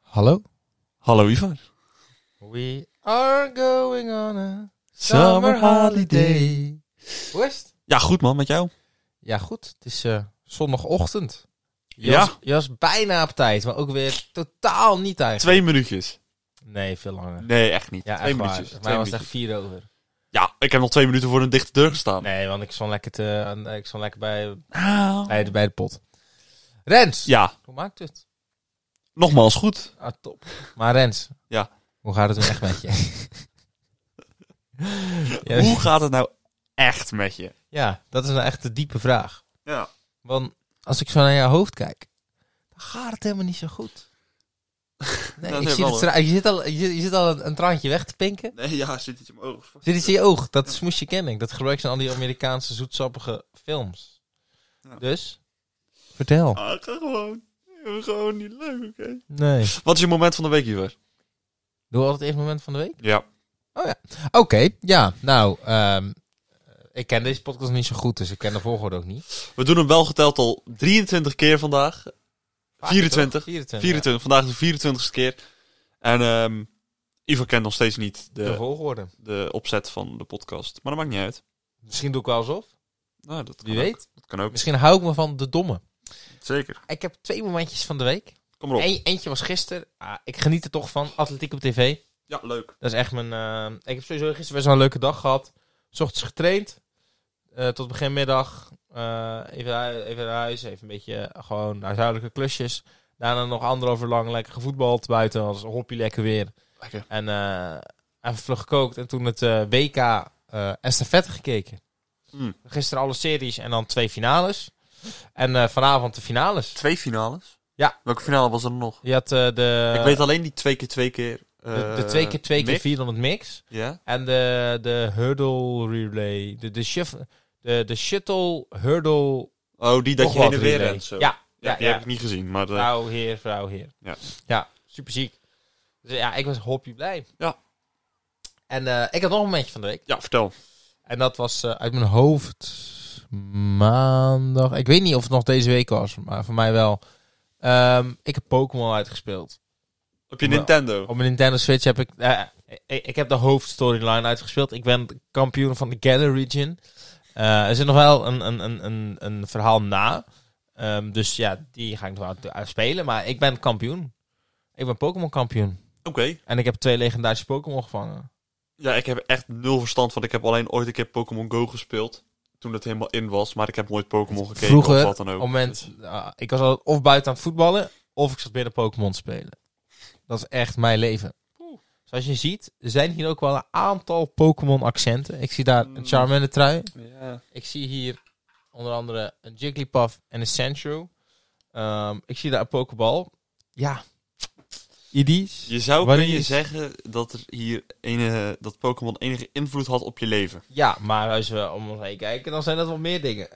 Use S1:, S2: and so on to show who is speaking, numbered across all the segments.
S1: Hallo?
S2: Hallo Ivar.
S1: We are going on a
S2: summer holiday.
S1: Hoe is het?
S2: Ja, goed man, met jou?
S1: Ja, goed. Het is eh, zondagochtend. Je
S2: Ja.
S1: Was, je was bijna op tijd, maar ook weer totaal niet eigenlijk.
S2: Twee minuutjes.
S1: Nee, veel langer.
S2: Nee, echt niet.
S1: Ja,
S2: twee
S1: echt waar.
S2: minuutjes.
S1: Mij
S2: Twee
S1: was het echt
S2: minuutjes.
S1: vier over.
S2: Ja, ik heb nog twee minuten voor een dichte deur gestaan.
S1: Nee, want ik stond lekker, te, aan- ik stond lekker bij,
S2: Ah.
S1: bij, de, bij de pot. Rens!
S2: Ja,
S1: Hoe maakt het?
S2: nogmaals goed.
S1: Ah, top. Maar Rens.
S2: Ja.
S1: Hoe gaat het nu echt met je? ja,
S2: Hoe gaat het nou echt met je?
S1: ja, dat is nou echt de diepe vraag.
S2: Ja.
S1: Want als ik zo naar jouw hoofd kijk, dan gaat het helemaal niet zo goed. Nee,
S2: Dat
S1: ik
S2: is
S1: zie
S2: wel
S1: het tra- je, zit al, je, je zit al een, een traantje weg te pinken.
S2: Nee, ja, zit het in mijn ogen.
S1: Zit iets in je oog. Dat smoes je ken ik. Dat gebruik ze in al die Amerikaanse zoetsappige films.
S2: Ja.
S1: Dus, vertel.
S2: Ah, ik ga gewoon. ik ben Gewoon niet leuk, oké.
S1: Nee.
S2: Wat is je moment van de week, Ivar?
S1: Doe altijd even moment van de week.
S2: Ja.
S1: Oké, ja. Nou, ehm, ik ken deze podcast niet zo goed, dus ik ken de volgorde ook niet.
S2: We doen hem wel geteld al 23 keer vandaag.
S1: Vaak
S2: 24.
S1: toch? 24.
S2: 24. Vandaag is de 24ste keer. En ehm Ivar kent nog steeds niet
S1: ja. De
S2: de,
S1: volgorde.
S2: de opzet van de podcast. Maar dat maakt niet uit.
S1: Misschien doe ik wel alsof.
S2: Nou, dat
S1: Wie
S2: kan ook.
S1: weet.
S2: Dat kan ook.
S1: Misschien hou ik me van de domme.
S2: Zeker.
S1: Ik heb twee momentjes van de week.
S2: Kom erop.
S1: Eén- eentje was gisteren. Ah, ik geniet er toch van. Atletiek op tv.
S2: Ja, leuk.
S1: Dat is echt mijn... eh, ik heb sowieso gisteren best wel een leuke dag gehad. 's ochtends getraind. eh, tot begin middag. Eh, even, hui- even naar huis. Even een beetje eh, gewoon huishoudelijke klusjes. Daarna nog anderhalf uur lang lekker gevoetbald buiten. Als hoppie lekker weer.
S2: Lekker.
S1: En eh, even vlug gekookt. En toen het eh, WK eh estafette gekeken.
S2: Mm.
S1: Gisteren alle series en dan twee finales. En eh, vanavond de finales.
S2: Twee finales?
S1: Ja.
S2: Welke finale was er nog?
S1: Je had eh, de...
S2: ik weet alleen die twee keer twee keer.
S1: De,
S2: eh,
S1: de twee keer twee keer
S2: mix.
S1: 400 mix.
S2: Ja.
S1: En de, de hurdle relay. De, de, shuf, de, de shuttle hurdle.
S2: Oh, die dat
S1: nog
S2: je
S1: wat
S2: heen en weer
S1: relay.
S2: rent. Zo.
S1: Ja, ja,
S2: Ja, die
S1: ja. Nou.
S2: heb ik niet gezien. Maar eh,
S1: Vrouw, heer, vrouw, heer.
S2: Ja.
S1: ja super ziek. Dus ja, ik was hoppie blij.
S2: Ja.
S1: En eh, ik had nog een momentje van de week.
S2: ja, vertel.
S1: En dat was eh, uit mijn hoofd maandag. Ik weet niet of het nog deze week was, maar voor mij wel. Ehm, ik heb Pokémon uitgespeeld.
S2: Op je
S1: Nou.
S2: Nintendo.
S1: Op mijn Nintendo Switch heb ik, eh, ik, ik heb de hoofdstoryline uitgespeeld. Ik ben kampioen van de Galar Region. Eh, er zit nog wel een, een, een, een, een verhaal na. Ehm, dus ja, die ga ik nog wel uit- spelen. Maar ik ben kampioen. Ik ben Pokémon kampioen.
S2: Oké.
S1: En ik heb twee legendarische Pokémon gevangen.
S2: Ja, ik heb echt nul verstand van. Ik heb alleen ooit een keer Pokémon Go gespeeld. Toen het helemaal in was. Maar ik heb nooit Pokémon gekeken
S1: Vroeger,
S2: of wat dan ook.
S1: Op het moment, ah, ik was al of buiten aan het voetballen, of ik zat binnen Pokémon te spelen. Dat is echt mijn leven. Zoals je ziet, zijn hier ook wel een aantal Pokémon accenten. Ik zie daar een
S2: Mm.
S1: Charmander trui.
S2: Ja.
S1: Ik zie hier onder andere een Jigglypuff en een Sandshrew. Ehm, ik zie daar een Pokeball. Ja. Idis.
S2: Je zou
S1: Wanneer
S2: kunnen
S1: is-
S2: zeggen dat er hier enige, dat Pokémon enige invloed had op je leven.
S1: Ja, maar als we om ons heen kijken, dan zijn dat wel meer dingen.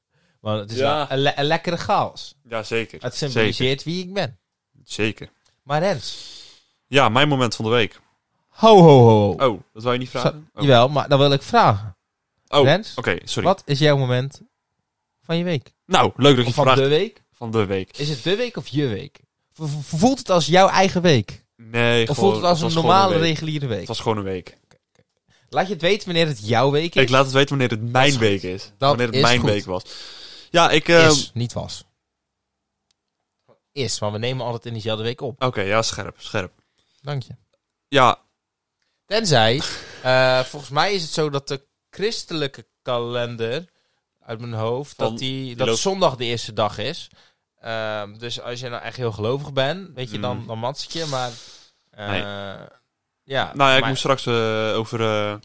S1: Want het is
S2: Ja.
S1: wel een, le- een lekkere chaos.
S2: Ja, zeker.
S1: Het symboliseert wie ik ben.
S2: Zeker. zeker.
S1: Maar Rens.
S2: Ja, mijn moment van de week.
S1: Ho, ho, ho.
S2: Oh, dat wou je niet vragen?
S1: Zo- Jawel, maar dan wil ik vragen.
S2: Oh, oké,
S1: Rens,
S2: sorry.
S1: wat is jouw moment van je week?
S2: Nou, leuk dat je
S1: Of
S2: het
S1: van
S2: vraagt.
S1: de week?
S2: Van de week.
S1: Is het de week of je week? V- v- Voelt het als jouw eigen week?
S2: Nee,
S1: Of
S2: gewoon,
S1: voelt het als een
S2: was gewoon
S1: normale,
S2: week.
S1: reguliere week?
S2: Het was gewoon een week.
S1: Laat je het weten wanneer het jouw week is.
S2: Ik laat het weten wanneer het mijn
S1: is
S2: week is.
S1: Dat
S2: wanneer het
S1: is
S2: mijn
S1: goed.
S2: week was. Ja, ik... ehm,
S1: is, niet was. Is, want we nemen altijd in diezelfde week op.
S2: Oké, ja, scherp, scherp.
S1: Dank je.
S2: Ja,
S1: Tenzij, eh, volgens mij is het zo dat de christelijke kalender uit mijn hoofd,
S2: Van-
S1: dat, die,
S2: die
S1: dat
S2: loopt-
S1: zondag de eerste dag is. Ehm, dus als je nou echt heel gelovig bent, weet je, dan,
S2: Mm.
S1: dan mats ik je, maar... eh,
S2: Nee.
S1: Ja,
S2: nou ja, ik
S1: maar-
S2: moet straks eh, over eh, een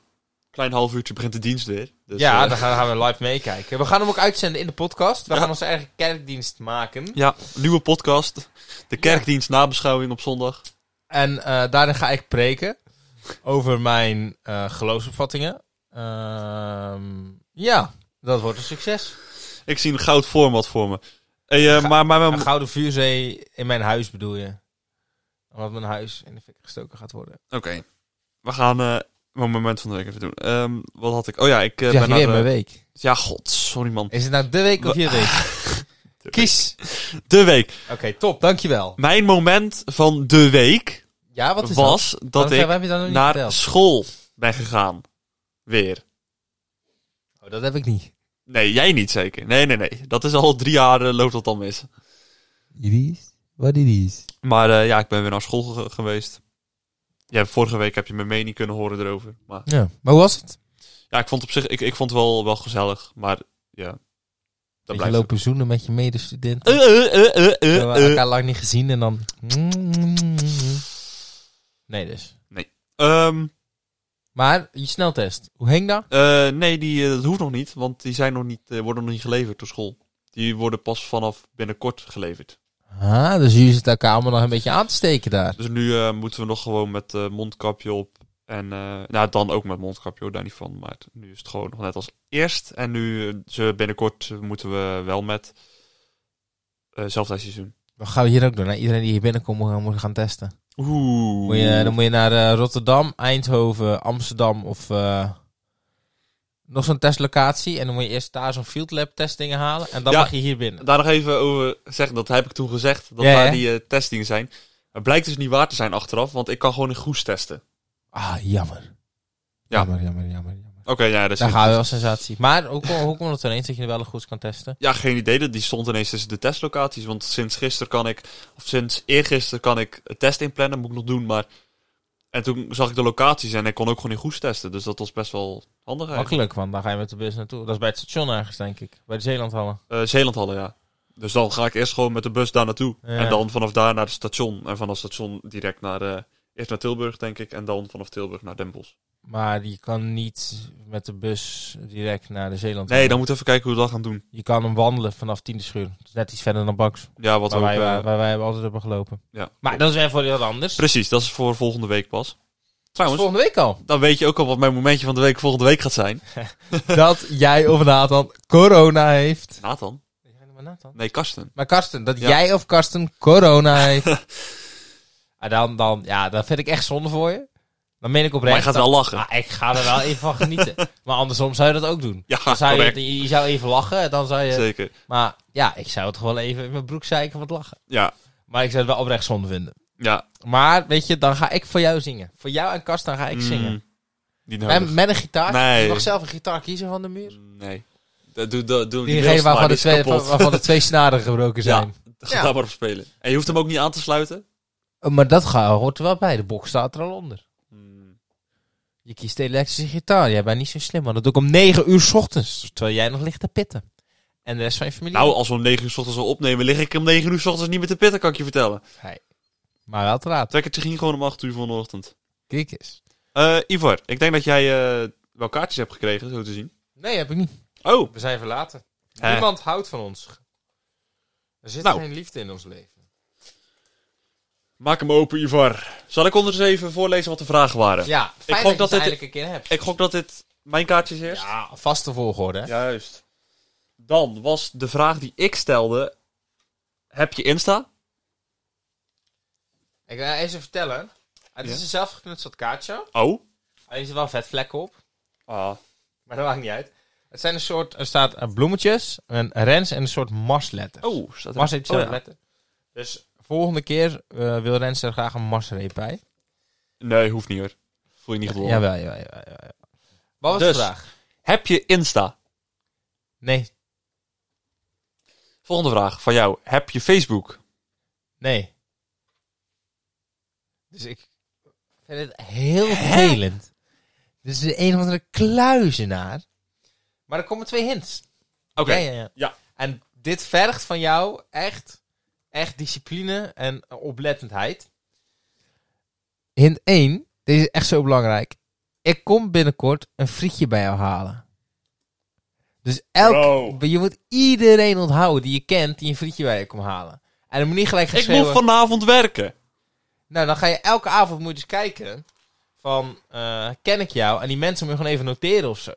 S2: klein half uurtje begint de dienst weer. Dus,
S1: ja,
S2: eh,
S1: dan gaan, gaan we live meekijken. We gaan hem ook uitzenden in de podcast. We
S2: Ja.
S1: gaan onze eigen kerkdienst maken.
S2: ja, nieuwe podcast. De kerkdienst nabeschouwing op zondag.
S1: En eh, daarin ga ik preken over mijn eh, geloofsopvattingen. Ehm, ja, dat wordt een succes.
S2: Ik zie een goud format voor me. Hey, eh,
S1: Ga-
S2: maar, maar,
S1: Een
S2: maar,
S1: gouden vuurzee in mijn huis bedoel je? Omdat mijn huis in de fik gestoken gaat worden.
S2: Oké. We gaan eh mijn moment van de week even doen. Ehm, wat had ik? Oh ja, ik eh,
S1: zeg
S2: ben
S1: je
S2: naar
S1: weer
S2: de-
S1: mijn week.
S2: Ja, god, sorry man.
S1: Is het nou de week of je week? Kies.
S2: De week.
S1: Oké, top. Dankjewel.
S2: Mijn moment van de week
S1: Ja, wat is dat?
S2: was dat,
S1: Waarom
S2: ik
S1: heb je dat nog niet
S2: naar
S1: verteld?
S2: school ben gegaan. Weer.
S1: Oh, dat heb ik niet.
S2: Nee, jij niet zeker. Nee, nee, nee. Dat is al drie jaar eh, loopt dat al mis.
S1: Iris? Wat Iris?
S2: Maar eh, ja, ik ben weer naar school ge- geweest. Ja, vorige week heb je mijn mening kunnen horen erover. Maar
S1: Ja, maar hoe was het?
S2: ja, ik vond op zich, ik, ik vond het wel, wel gezellig. Maar ja, dat
S1: Dat je
S2: blijft.
S1: lopen zoenen met je medestudenten.
S2: Eh, eh, eh, eh, eh,
S1: We hebben
S2: eh.
S1: elkaar lang niet gezien en dan... mm, Nee dus.
S2: Ehm,
S1: Maar je sneltest, hoe hing dat?
S2: eh, nee, die, eh, dat hoeft nog niet, want die zijn nog niet, eh, worden nog niet geleverd door school. Die worden pas vanaf binnenkort geleverd.
S1: Ah, dus jullie zitten elkaar allemaal nog een beetje aan te steken daar.
S2: Dus nu eh, moeten we nog gewoon met eh, mondkapje op. En eh, nou, dan ook met mondkapje, hoor, daar niet van. Maar nu is het gewoon nog net als eerst. En nu, eh, ze binnenkort moeten we wel met eh zelfdijsseizoen.
S1: Dan gaan we hier ook doen. Hè? Iedereen die hier binnenkomt moet gaan- moet gaan testen.
S2: Oeh.
S1: Moet je, dan moet je naar eh, Rotterdam, Eindhoven, Amsterdam of eh, nog zo'n testlocatie. En dan moet je eerst daar zo'n field lab testdingen halen. En dan
S2: Ja.
S1: mag je hier binnen.
S2: Daar nog even over zeggen, dat heb ik toen gezegd, dat
S1: Ja,
S2: daar
S1: hè?
S2: die eh, testingen zijn. Het blijkt dus niet waar te zijn achteraf, want ik kan gewoon in Goes testen.
S1: Ah, jammer.
S2: Ja.
S1: Jammer, jammer, jammer. jammer.
S2: Oké, ja, dat is
S1: Daar
S2: niet-
S1: gaan we wel sensatie. Maar hoe kon, hoe kon het ineens dat je er wel goed kan testen?
S2: Ja, geen idee. dat Die stond ineens tussen de testlocaties. Want sinds gisteren kan ik, of sinds eergisteren kan ik een test inplannen. Moet ik nog doen, maar... En toen zag ik de locaties en ik kon ook gewoon in Goes testen. Dus dat was best wel handig eigenlijk.
S1: Makkelijk, want dan ga je met de bus naartoe. Dat is bij het station ergens, denk ik. Bij de Zeelandhallen.
S2: Eh Zeeland hadden, ja. Dus dan ga ik eerst gewoon met de bus daar naartoe.
S1: Ja.
S2: En dan vanaf daar naar het station. En vanaf het station direct naar... eh, eerst naar Tilburg, denk ik. En dan vanaf Tilburg naar Den Bosch.
S1: Maar je kan niet met de bus direct naar de Zeeland.
S2: Nee, dan moeten we even kijken hoe we dat gaan doen.
S1: Je kan hem wandelen vanaf Tiende Schuur. Dat is net iets verder dan Baks.
S2: Ja, wat
S1: Waar
S2: we ook...
S1: wij,
S2: eh,
S1: waar, waar wij altijd hebben gelopen.
S2: ja.
S1: Maar dat is weer voor heel anders.
S2: Precies, dat is voor volgende week pas. Trouwens,
S1: volgende week al.
S2: dan weet je ook al wat mijn momentje van de week volgende week gaat zijn.
S1: dat jij of Nathan corona heeft.
S2: Nathan? Nee, Karsten.
S1: Maar Karsten, dat
S2: Ja.
S1: jij of Karsten corona heeft. en Ah, dan, dan, ja, dat vind ik echt zonde voor je. Dan meen ik
S2: Maar
S1: oprecht.
S2: je gaat wel lachen.
S1: Ah, ik ga er wel even van genieten. Maar andersom zou je dat ook doen.
S2: ja,
S1: Dan zou
S2: correct.
S1: je, je zou even lachen, dan zou je...
S2: Zeker.
S1: Maar ja, ik zou het gewoon even in mijn broek zeiken van het lachen.
S2: Ja,
S1: Maar ik zou het wel oprecht zonde vinden.
S2: ja.
S1: Maar weet je, dan ga ik voor jou zingen. Voor jou en Karsten ga ik
S2: Mm,
S1: zingen.
S2: Niet
S1: En
S2: nodig.
S1: met een gitaar.
S2: Nee.
S1: Je mag zelf een gitaar kiezen van de muur.
S2: Nee. Dat doe, dat doe die
S1: Diegene
S2: mails maar,
S1: waarvan
S2: die
S1: de,
S2: is
S1: twee,
S2: kapot.
S1: waarvan de twee snaren gebroken zijn.
S2: Ja, ga
S1: Ja.
S2: daar maar op spelen. En je hoeft hem ook niet aan te sluiten.
S1: Oh, Maar dat ga- hoort er wel bij. De box staat er al onder.
S2: Mm,
S1: Je kiest de elektrische gitaar. Jij bent niet zo slim, maar dat doe ik om 9 uur 's ochtends. Terwijl jij nog ligt te pitten. En de rest van je familie.
S2: Nou, als we om 9 uur 's ochtends al opnemen, lig ik om 9 uur 's ochtends niet meer te pitten, kan ik je vertellen.
S1: Maar wel te laat.
S2: Trekkertje ging gewoon om 8 uur vanochtend.
S1: Kijk eens.
S2: Eh Ivor, ik denk dat jij eh, wel kaartjes hebt gekregen, zo te zien.
S1: Nee, heb ik niet.
S2: Oh,
S1: We zijn verlaten.
S2: Eh.
S1: Niemand houdt van ons. Er zit
S2: Nou.
S1: geen liefde in ons leven.
S2: maak hem open, Ivor. Zal ik onder eens even voorlezen wat de vragen waren?
S1: Ja, fijn dat,
S2: gok dat
S1: je
S2: dit-
S1: het eindelijk een keer hebt.
S2: Ik gok dat dit mijn kaartje is eerst.
S1: Ja, vaste volgorde. hè?
S2: Juist. Dan was de vraag die ik stelde: Heb je Insta?
S1: Ik ga eens even vertellen. Het is
S2: Ja.
S1: een zelfgeknutseld kaartje.
S2: Oh.
S1: Alleen zitten wel vetvlekken op.
S2: Ah.
S1: Maar dat maakt niet uit. Het zijn een soort, er staat eh, bloemetjes, een rens en een soort marsletter.
S2: Oh, staat er.
S1: mars heeft
S2: oh,
S1: dezelfde
S2: ja.
S1: letter. Dus volgende keer eh, wil rens er graag een marsreep bij.
S2: Nee, hoeft niet hoor. Voel je niet gedwongen.
S1: Jawel, jawel, jawel, jawel. Wat was
S2: Dus.
S1: de vraag?
S2: Heb je Insta?
S1: Nee,
S2: Volgende vraag van jou: Heb je Facebook?
S1: nee. Dus ik vind het heel vervelend. Dit is de een of andere kluizenaar. Maar er komen twee hints.
S2: Oké.
S1: Ja, ja, ja.
S2: Ja.
S1: En dit vergt van jou echt, echt discipline en eh, oplettendheid. Hint 1, deze is echt zo belangrijk. Ik kom binnenkort een frietje bij jou halen. Dus elk,
S2: Wow.
S1: je moet iedereen onthouden die je kent die een frietje bij je komt halen. En dan moet je niet gelijk gaan
S2: Ik
S1: schreeuwen.
S2: moet vanavond werken.
S1: Nou, dan ga je elke avond moet je dus kijken van, eh, ken ik jou? En die mensen moet je gewoon even noteren of zo.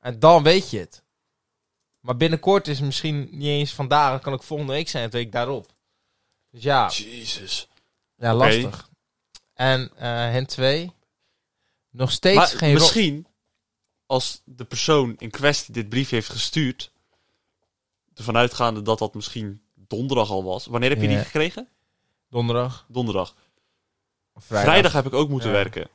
S1: En dan weet je het. Maar binnenkort is het misschien niet eens vandaag. Het kan ook volgende week zijn, het week daarop. Dus ja,
S2: Jezus.
S1: ja
S2: Oké.
S1: lastig. En eh hen twee, nog steeds
S2: Maar
S1: geen... ro-
S2: misschien, als de persoon in kwestie dit briefje heeft gestuurd, ervan uitgaande dat dat misschien donderdag al was. Wanneer heb je
S1: Ja.
S2: die gekregen?
S1: Donderdag.
S2: Donderdag.
S1: Vrijdag.
S2: Vrijdag, heb ik ook moeten
S1: Ja.
S2: werken.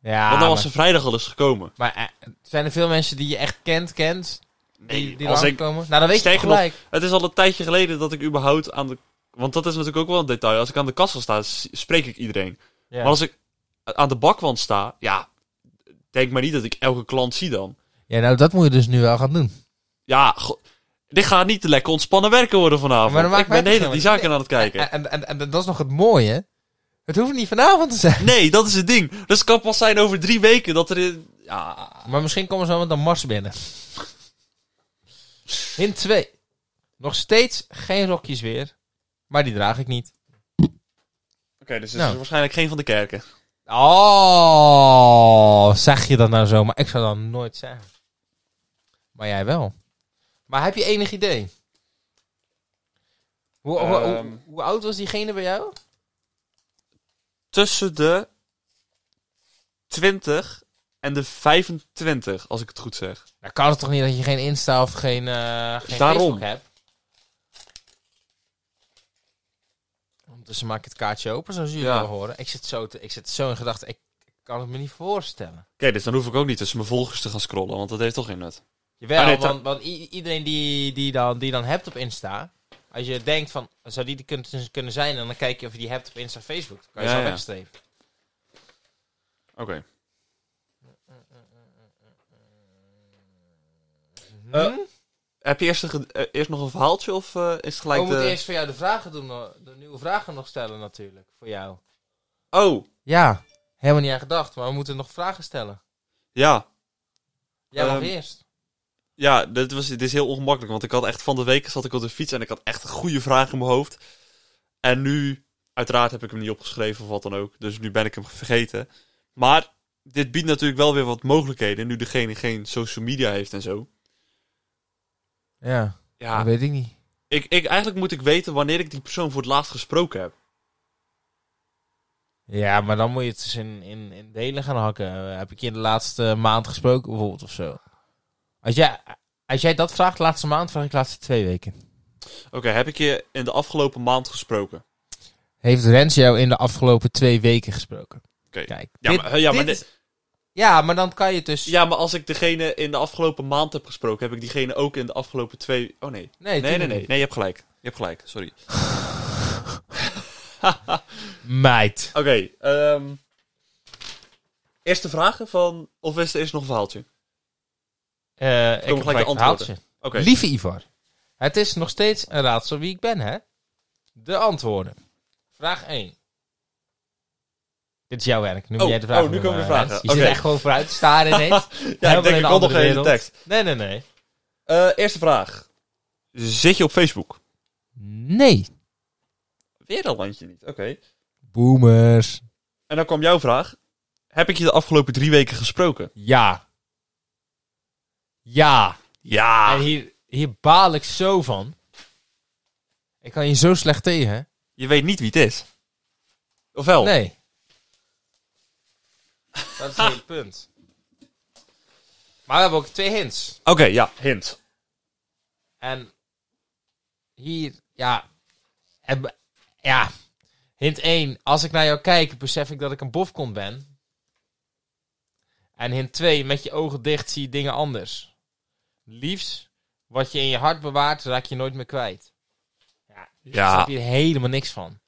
S1: Ja,
S2: Want dan
S1: maar,
S2: was ze vrijdag al eens gekomen.
S1: maar, eh, zijn er veel mensen die je echt kent, kent? Die, die
S2: als ik,
S1: langskomen? Nou, dan weet je het
S2: Sterker nog,
S1: gelijk.
S2: het is al een tijdje geleden dat ik überhaupt aan de... Want dat is natuurlijk ook wel een detail. Als ik aan de kassa sta, s- spreek ik iedereen.
S1: Ja.
S2: Maar als ik aan de bakwand sta, ja, denk maar niet dat ik elke klant zie dan.
S1: ja, nou, dat moet je dus nu wel gaan doen.
S2: Ja, go- dit gaat niet te lekker ontspannen werken worden vanavond.
S1: Maar dat maakt
S2: ik ben
S1: mij
S2: de hele tijd die
S1: niet
S2: zaken aan het kijken.
S1: En, en, en, en dat is nog het mooie. Het hoeft niet vanavond te zijn.
S2: Nee, dat is het ding. Dus het kan pas zijn over drie weken dat er... in- Ja,
S1: Ah. Maar misschien komen ze wel met een mars binnen. Hint 2. Nog steeds geen rokjes weer. Maar die draag ik niet.
S2: Oké, dus het
S1: Nou.
S2: is waarschijnlijk geen van de kerken.
S1: Oh, zeg je dat nou zo? Maar ik zou dat nooit zeggen. Maar jij wel. Maar heb je enig idee? Hoe, hoe, hoe-
S2: Ehm.
S1: hoe oud was diegene bij jou?
S2: Tussen de 20 en de 25, als ik het goed zeg.
S1: Nou kan het toch niet dat je geen Insta of geen, eh geen
S2: Daarom.
S1: Facebook hebt? Ondertussen Dus maak ik het kaartje open, zoals jullie
S2: Ja.
S1: wel horen. Ik zit zo, te, ik zit zo in gedachten, ik kan het me niet voorstellen.
S2: Oké, dus dan hoef ik ook niet tussen mijn volgers te gaan scrollen, want dat heeft toch geen nut.
S1: Jawel,
S2: Ah, nee, ta-
S1: want, want i- iedereen die, die, dan, die dan hebt op Insta, als je denkt van, zou die er kunnen, kunnen zijn? En dan kijk je of je die hebt op Insta of Facebook. Dan kan je
S2: Ja,
S1: zo
S2: ja.
S1: wegstreven.
S2: Oké. Eh,
S1: Hm?
S2: Heb je eerst, een ge- eh, eerst nog een verhaaltje of eh, is het gelijk
S1: Oh, we
S2: de...
S1: moeten eerst voor jou de vragen doen, hoor. de nieuwe vragen nog stellen natuurlijk, voor jou.
S2: Oh,
S1: Ja, helemaal niet aan gedacht, maar we moeten nog vragen stellen.
S2: ja.
S1: Jij mag
S2: Ehm,
S1: eerst.
S2: Ja, dit, was, dit is heel ongemakkelijk, want ik had echt van de week zat ik op de fiets en ik had echt een goede vraag in mijn hoofd. En nu, uiteraard heb ik hem niet opgeschreven of wat dan ook, dus nu ben ik hem vergeten. Maar dit biedt natuurlijk wel weer wat mogelijkheden, nu degene geen social media heeft en zo.
S1: Ja,
S2: Ja,
S1: weet ik niet.
S2: ik, ik, eigenlijk moet ik weten wanneer ik die persoon voor het laatst gesproken heb.
S1: Ja, maar dan moet je het dus in, in, in delen gaan hakken. Eh, heb ik je de laatste maand gesproken bijvoorbeeld of zo? Als jij, als jij dat vraagt, laatste maand, vraag ik laatste twee weken.
S2: Oké, heb ik je in de afgelopen maand gesproken?
S1: Heeft Rens jou in de afgelopen twee weken gesproken?
S2: Oké.
S1: Kijk.
S2: Ja,
S1: dit-
S2: maar, ja, maar,
S1: dit is- ja, maar dan kan je het dus...
S2: ja, maar als ik degene in de afgelopen maand heb gesproken, heb ik diegene ook in de afgelopen twee... Oh nee,
S1: nee,
S2: Nee, nee,
S1: tuurlijk
S2: nee.
S1: niet.
S2: Nee, je hebt gelijk. Je hebt gelijk, sorry. Oké,
S1: Meid.
S2: ehm, eerste vragen van... Of is er eerst nog een verhaaltje?
S1: Eh, ik
S2: gelijk
S1: heb
S2: de
S1: gelijk een
S2: antwoorden.
S1: verhaaltje.
S2: Oké.
S1: Lieve Ivar, het is nog steeds een raadsel wie ik ben, hè? De antwoorden. Vraag 1. Dit is jouw werk. Nu moet
S2: Oh,
S1: jij de vragen
S2: oh, nu
S1: doen,
S2: komen de
S1: eh,
S2: vragen.
S1: Rens. Je
S2: Oké.
S1: zit echt gewoon vooruit te staren ineens.
S2: ja,
S1: Helemaal
S2: ik
S1: in
S2: denk
S1: een
S2: ik had nog
S1: andere
S2: geen hele
S1: wereld.
S2: tekst.
S1: Nee, nee, nee.
S2: Eh, eerste vraag. Zit je op Facebook?
S1: Nee.
S2: Weer dat landje niet. Oké.
S1: Boomers.
S2: En dan kwam jouw vraag. Heb ik je de afgelopen drie weken gesproken?
S1: Ja. Ja.
S2: Ja.
S1: En hier, hier baal ik zo van. Ik kan je zo slecht tegen, hè?
S2: Je weet niet wie het is. Of wel?
S1: Nee. Oh. Dat is het punt. Maar we hebben ook twee hints.
S2: Oké, ja. Hint.
S1: En hier, ja. En- ja. Hint 1. Als ik naar jou kijk, besef ik dat ik een bofkont ben. En hint 2. Met je ogen dicht zie je dingen anders. Liefst, wat je in je hart bewaart, raak je nooit meer kwijt. Ja.
S2: Ja.
S1: Ik snap hier helemaal niks van.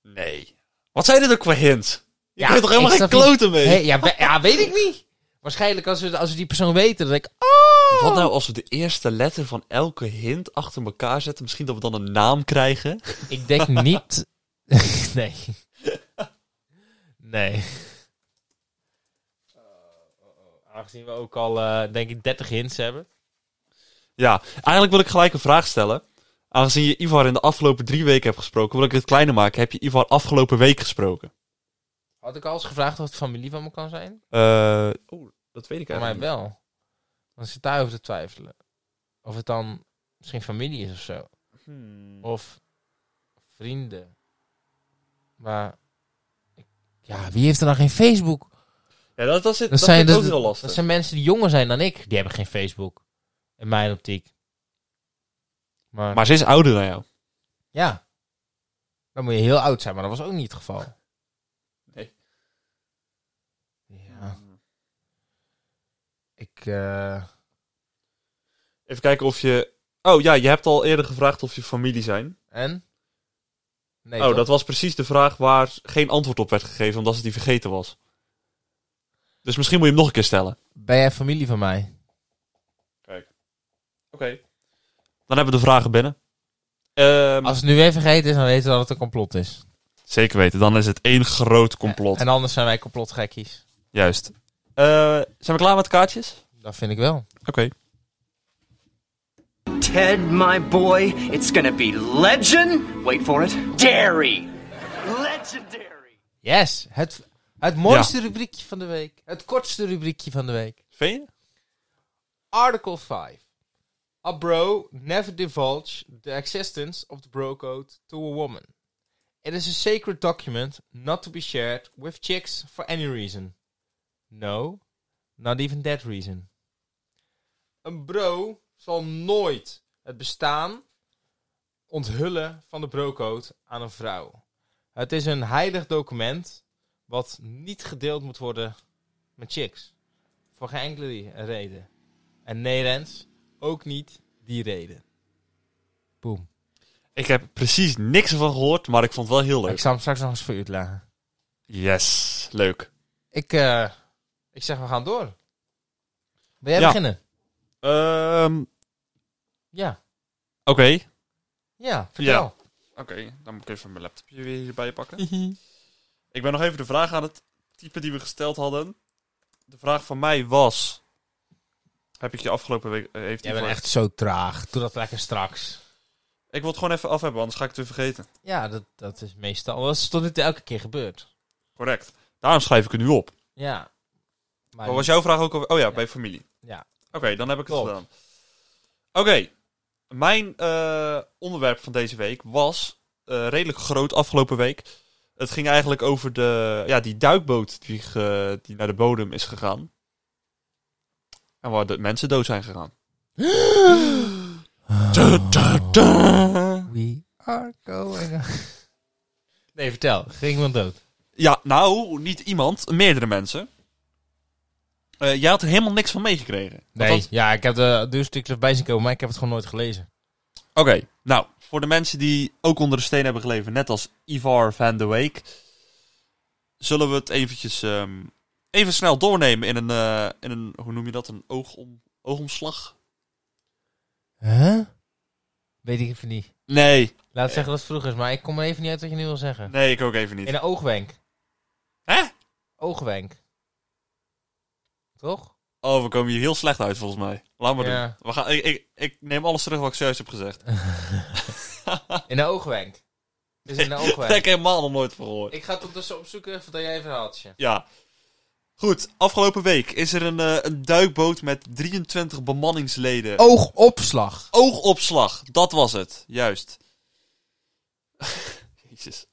S2: Nee. Wat zijn dit ook voor hints? Je
S1: Ja,
S2: hebt toch helemaal
S1: ik
S2: geen
S1: snap niet-
S2: kloten mee?
S1: Hey, ja, we- ja, weet ik niet. Waarschijnlijk als we, als we die persoon weten, dat ik... Oh!
S2: Wat nou als we de eerste letter van elke hint achter elkaar zetten? Misschien dat we dan een naam krijgen.
S1: Ik denk niet... nee. Nee. Eh, Aangezien we ook al, eh, denk ik, 30 hints hebben.
S2: Ja, eigenlijk wil ik gelijk een vraag stellen. Aangezien je Ivar in de afgelopen drie weken hebt gesproken, wil ik het kleiner maken. Heb je Ivar afgelopen week gesproken?
S1: Had ik al eens gevraagd wat de familie van me kan zijn?
S2: Eh Oeh, dat weet ik
S1: Voor mij wel. Dan zit daarover te twijfelen. Of het dan misschien familie is of zo.
S2: Hmm.
S1: Of vrienden. Maar... ik- Ja, wie heeft er dan geen Facebook?
S2: Ja, dat, dat, zit,
S1: Dat
S2: dat,
S1: zijn
S2: vind ik
S1: de-
S2: ook heel lastig.
S1: Dat zijn mensen die jonger zijn dan ik. Die hebben geen Facebook. In mijn optiek. Maar,
S2: Maar ze is ouder dan jou.
S1: ja, dan moet je heel oud zijn, maar dat was ook niet het geval.
S2: Nee.
S1: Ja, ik... eh,
S2: Even kijken of je... Oh ja, je hebt al eerder gevraagd of je familie zijn.
S1: en? Nee,
S2: oh,
S1: toch?
S2: dat was precies de vraag waar geen antwoord op werd gegeven, omdat ze die vergeten was. Dus misschien moet je hem nog een keer stellen.
S1: Ben jij familie van mij?
S2: Oké. Dan hebben we de vragen binnen. Ehm,
S1: Als het nu weer vergeten is, dan weten we dat het een complot is.
S2: Zeker weten, dan is het één groot complot.
S1: En anders zijn wij complotgekkies.
S2: Juist. Eh, zijn we klaar met kaartjes?
S1: Dat vind ik wel.
S2: Oké.
S3: Ted, my boy, it's gonna be legend. Wait for it. Dairy. Legendary.
S1: Yes! Het, het mooiste rubriekje van de week. Het kortste rubriekje van de week.
S2: Vind je?
S1: Article 5. A bro never divulge the existence of the bro code to a woman. It is a sacred document not to be shared with chicks for any reason. No, not even that reason. Een bro zal nooit het bestaan onthullen van de bro code aan een vrouw. Het is een heilig document wat niet gedeeld moet worden met chicks. Voor geen enkele reden. En nee, Rens, ook niet die reden. Boom.
S2: Ik heb precies niks ervan gehoord, maar ik vond het wel heel
S1: Ik
S2: leuk.
S1: zal hem straks nog eens voor u uitleggen.
S2: Yes, leuk.
S1: Ik, eh, ik zeg, we gaan door. Wil jij
S2: Ja.
S1: beginnen?
S2: Ehm,
S1: Ja.
S2: Oké.
S1: Ja, vertel.
S2: Oké, dan moet ik even mijn laptopje weer hierbij pakken. ik ben nog even de vraag aan het type die we gesteld hadden. De vraag van mij was... Heb ik je afgelopen week... eh, Heeft
S1: Jij
S2: die
S1: bent
S2: voor-
S1: echt zo traag. Doe dat lekker straks.
S2: Ik wil het gewoon even af hebben, anders ga ik het weer vergeten.
S1: Ja, dat, dat is meestal... Dat is tot nu toe elke keer gebeurd.
S2: Correct. Daarom schrijf ik het nu op.
S1: Ja. Maar
S2: Wat was jouw vraag ook over... Oh ja, bij familie.
S1: Ja.
S2: Oké, dan heb ik het
S1: Klopt.
S2: gedaan. Oké. Mijn eh, onderwerp van deze week was eh, redelijk groot afgelopen week. Het ging eigenlijk over de, ja, die duikboot die, ge- die naar de bodem is gegaan. En waar de mensen dood zijn gegaan. Da, da, da.
S1: We are going... nee, vertel. Ging iemand dood?
S2: Ja, nou, niet iemand, meerdere mensen. Eh, jij had er helemaal niks van meegekregen. Want dat-
S1: Ja, ik heb de duurstukjes bij zien komen, maar ik heb het gewoon nooit gelezen.
S2: Oké, nou, voor de mensen die ook onder de steen hebben geleven, net als Ivar van de Week, zullen we het eventjes ehm, even snel doornemen in een, eh, in een, hoe noem je dat, een oogom, oogomslag?
S1: Huh? Weet ik even niet.
S2: Nee,
S1: Laat het zeggen dat het vroeg is, maar ik kom er even niet uit wat je nu wil zeggen.
S2: nee, ik ook even niet.
S1: In een oogwenk.
S2: Hè?
S1: Oogwenk. Toch?
S2: Oh, we komen hier heel slecht uit volgens mij. Laat maar
S1: Ja.
S2: doen. We gaan, ik, ik, ik neem alles terug wat ik zojuist heb gezegd.
S1: In een oogwenk. Het is in een
S2: Dat heb
S1: oogwenk.
S2: ik helemaal nog nooit van gehoord.
S1: Ik ga het ondertussen opzoeken voordat jij een verhaaltje.
S2: Ja. Goed, afgelopen week is er een, eh, een duikboot met 23 bemanningsleden
S1: Oogopslag.
S2: Oogopslag, dat was het. Juist. Jezus.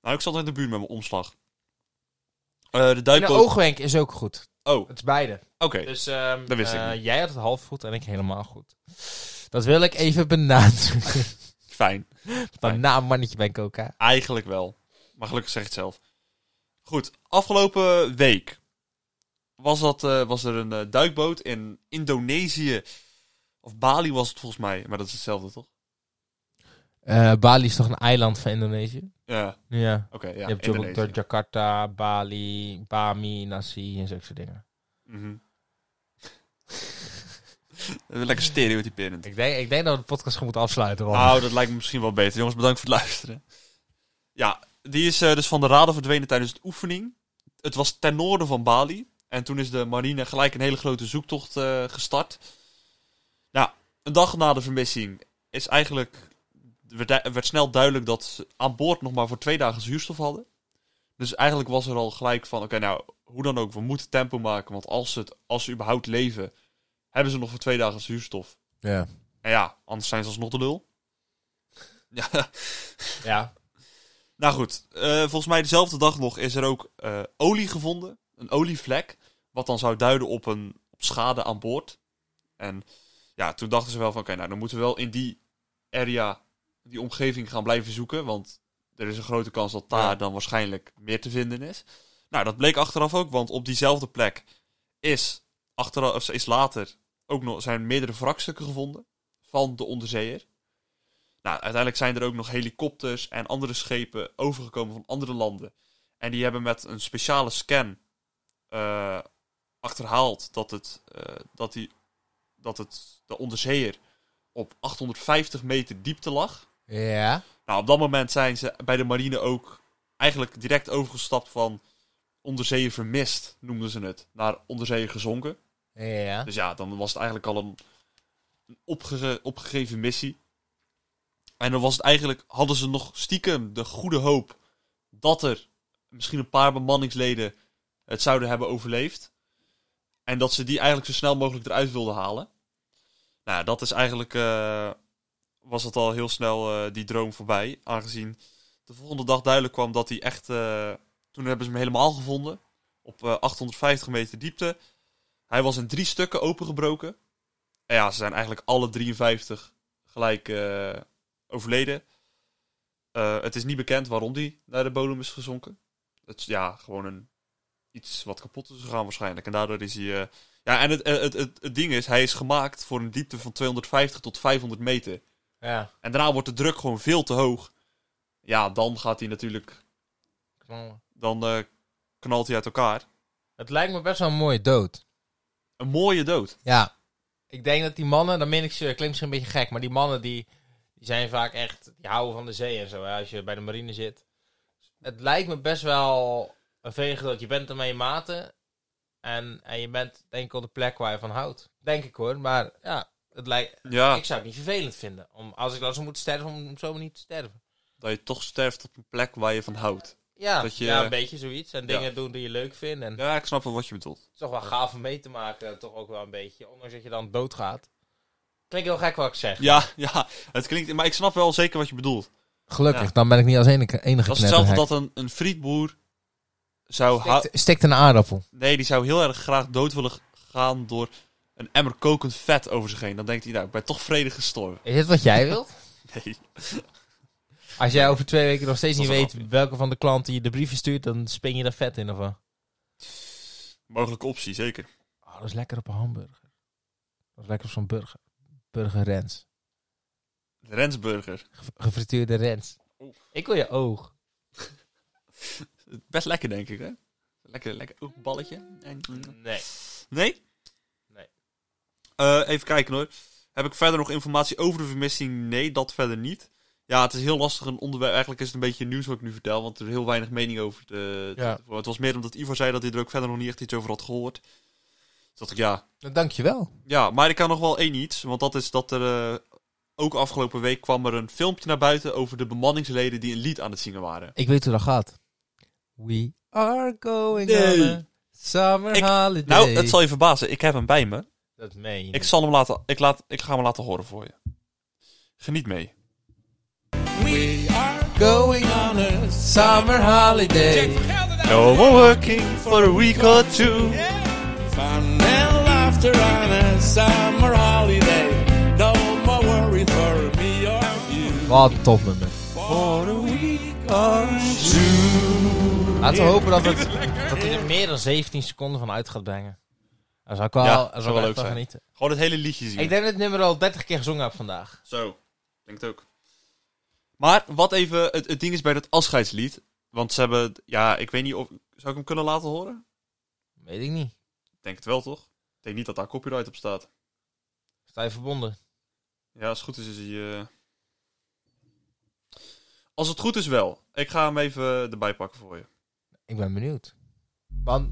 S2: Nou, ik zat in de buurt met mijn omslag. Eh, de
S1: In een
S2: duikboot...
S1: oogwenk is ook goed.
S2: Oh, oké.
S1: Het is beide. Dus ehm,
S2: Dat wist ik
S1: eh,
S2: niet.
S1: jij had het half goed en ik helemaal goed. Dat wil ik even benadrukken.
S2: Fijn.
S1: Van na een mannetje bij Coca.
S2: Eigenlijk wel. Maar gelukkig zeg ik het zelf. Goed, afgelopen week was, dat, eh, was er een eh, duikboot in Indonesië. Of Bali was het volgens mij. Maar dat is hetzelfde, toch?
S1: Eh, Bali is toch een eiland van Indonesië?
S2: Ja,
S1: Ja.
S2: oké. ja,
S1: Je hebt
S2: Indonesië.
S1: door Jakarta, Bali, Bami, Nasi en zulke soort dingen.
S2: Mhm. Lekker stereotyperend.
S1: Ik denk, ik denk dat we de podcast gewoon moeten afsluiten. Want...
S2: Nou, dat lijkt me misschien wel beter. Jongens, bedankt voor het luisteren. Ja, die is eh, dus van de radar verdwenen tijdens de oefening. Het was ten noorden van Bali. En toen is de marine gelijk een hele grote zoektocht eh, gestart. Nou, een dag na de vermissing is eigenlijk... werd, du- werd snel duidelijk dat ze aan boord nog maar voor twee dagen zuurstof hadden. Dus eigenlijk was er al gelijk van... Oké, nou, hoe dan ook, we moeten tempo maken. Want als ze, het, als ze überhaupt leven, hebben ze nog voor twee dagen zuurstof.
S1: Ja.
S2: Nou ja, anders zijn ze alsnog de lul. Ja,
S1: ja.
S2: nou goed. eh, volgens mij dezelfde dag nog is er ook eh, olie gevonden. Een olievlek. Wat dan zou duiden op een op schade aan boord. En ja, toen dachten ze wel van... Oké, nou dan moeten we wel in die area, die omgeving gaan blijven zoeken. Want er is een grote kans dat daar
S1: Ja.
S2: dan waarschijnlijk meer te vinden is. Nou, dat bleek achteraf ook, want op diezelfde plek is, achteraf, of is later ook nog, zijn meerdere wrakstukken gevonden van de onderzeeër. Nou, uiteindelijk zijn er ook nog helikopters en andere schepen overgekomen van andere landen. En die hebben met een speciale scan eh, achterhaald dat, het, eh, dat, die, dat het, de onderzeeër op 850 meter diepte lag.
S1: Ja.
S2: Nou, op dat moment zijn ze bij de marine ook eigenlijk direct overgestapt van onderzeeër vermist, noemden ze het, naar onderzeeër gezonken.
S1: Ja.
S2: Dus ja, dan was het eigenlijk al een, een opge- opgegeven missie. En dan was het eigenlijk, hadden ze nog stiekem de goede hoop dat er misschien een paar bemanningsleden het zouden hebben overleefd. En dat ze die eigenlijk zo snel mogelijk eruit wilden halen. Nou, ja, dat is eigenlijk, eh, was het al heel snel eh, die droom voorbij. Aangezien de volgende dag duidelijk kwam dat hij echt, eh, toen hebben ze hem helemaal gevonden. Op eh, 850 meter diepte. Hij was in drie stukken opengebroken. En ja, ze zijn eigenlijk alle 53 gelijk eh, overleden. Eh, het is niet bekend waarom die naar de bodem is gezonken. Het is ja, gewoon een, iets wat kapot is gegaan waarschijnlijk. En daardoor is hij... eh, ja, en het, het, het, het ding is, hij is gemaakt voor een diepte van 250 tot 500 meter.
S1: Ja.
S2: En daarna wordt de druk gewoon veel te hoog. Ja, dan gaat hij natuurlijk... Dan eh, knalt hij uit elkaar.
S1: Het lijkt me best wel een mooie dood.
S2: Een mooie dood.
S1: Ja. Ik denk dat die mannen, dan meen ik ze, klinkt misschien een beetje gek, maar die mannen die, die zijn vaak echt, die houden van de zee en zo, hè, als je bij de marine zit. Het lijkt me best wel een vegen dat je bent ermee je maten en, en je bent denk ik op de plek waar je van houdt. Denk ik hoor, maar ja, het lijkt,
S2: Ja,
S1: ik zou het niet vervelend vinden. Om, als ik dan zou moeten sterven, om zo niet te sterven.
S2: dat je toch sterft op een plek waar je van houdt.
S1: Ja,
S2: Dat je-
S1: ja, een beetje zoiets. En
S2: Ja.
S1: dingen doen die je leuk vindt. En
S2: Ja, ik snap wel wat je bedoelt.
S1: Het is toch wel gaaf om mee te maken, eh, toch ook wel een beetje. Ondanks dat je dan doodgaat. Klinkt heel gek wat ik zeg.
S2: Ja, ja, het klinkt... Maar ik snap wel zeker wat je bedoelt.
S1: Gelukkig,
S2: Ja.
S1: dan ben ik niet als enige, enige
S2: Dat is hetzelfde dat een, een frietboer zou... hou-
S1: Stikt een aardappel.
S2: Nee, die zou heel erg graag dood willen gaan door een emmer kokend vet over zich heen. Dan denkt hij, nou, ik ben toch vredig gestorven.
S1: Is dit wat jij wilt?
S2: Nee.
S1: Als jij over twee weken nog steeds
S2: Dat
S1: niet
S2: is een
S1: weet welke van de klanten je de brieven stuurt, dan spin je daar vet in of wat?
S2: Mogelijke optie, zeker.
S1: Oh, dat is lekker op een hamburger. Dat is lekker op zo'n burger. Burger Rens.
S2: De Rensburger.
S1: Ge- gefrituurde Rens.
S2: Oeh.
S1: Ik wil je oog.
S2: Best lekker, denk ik, hè? Lekker, lekker. Ook balletje. En...
S1: Nee.
S2: Nee?
S1: Nee.
S2: Eh, even kijken hoor. Heb ik verder nog informatie over de vermissing? Nee, dat verder niet. Ja, het is heel lastig een onderwerp. Eigenlijk is het een beetje nieuws wat ik nu vertel, want er is heel weinig mening over. Te, te-
S1: Ja.
S2: te- het was meer omdat Ivo zei dat hij er ook verder nog niet echt iets over had gehoord. Toen dacht ik, ja,
S1: Nou, dankjewel.
S2: ja, maar ik kan nog wel één iets. Want dat is dat er. eh, ook afgelopen week kwam er een filmpje naar buiten over de bemanningsleden die een lied aan het zingen waren.
S1: Ik weet hoe dat gaat. We are going
S2: Nee.
S1: on a summer
S2: Ik-
S1: holiday.
S2: Nou, het zal je verbazen. Ik heb hem bij me.
S1: Dat meen je
S2: Ik
S1: niet.
S2: zal hem laten. Ik, laat, ik ga hem laten horen voor je. Geniet mee.
S4: We are
S1: Going on a summer holiday.
S2: No more working for a week or two.
S4: Fun and laughter on a summer holiday. No more worry for me or you.
S1: Wat een topnummer.
S2: For a week or two.
S1: Laten we hopen dat, het, dat hij er meer dan 17 seconden van uit gaat brengen. Dat zou ik wel,
S2: Ja,
S1: dat
S2: zou
S1: zou ik
S2: wel
S1: echt
S2: leuk
S1: van
S2: zijn.
S1: genieten.
S2: Gewoon het hele liedje zien.
S1: Ik denk dat ik het nummer al 30 keer gezongen heb vandaag.
S2: Zo, denkt ook. Maar wat even het, het ding is bij dat afscheidslied. Want ze hebben. Ja, ik weet niet of. Zou ik hem kunnen laten horen?
S1: Weet ik niet.
S2: denk het wel, toch? Ik denk niet dat daar copyright op staat.
S1: Sta je verbonden?
S2: Ja, als het goed is, is hij... eh, Als het goed is wel. Ik ga hem even erbij pakken voor je.
S1: Ik ben benieuwd. Want...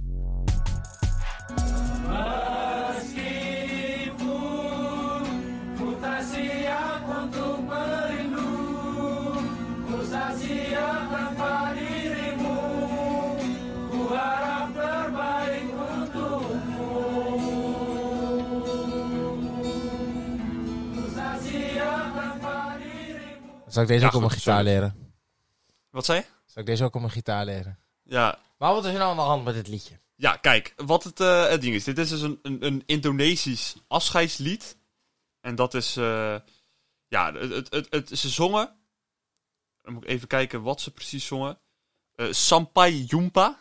S1: Zal ik deze
S2: Ja,
S1: ook op mijn
S2: goed,
S1: gitaar
S2: sorry.
S1: leren?
S2: Wat zei je?
S1: Zal ik deze ook op mijn gitaar leren?
S2: Ja,
S1: Maar wat is er nou aan de hand met dit liedje?
S2: ja kijk. Wat het, eh, het ding is. Dit is dus een, een, een Indonesisch afscheidslied. En dat is... eh, Ja, het, het, het, het- ze zongen. Dan moet ik even kijken wat ze precies zongen. Eh Sampai Jumpa.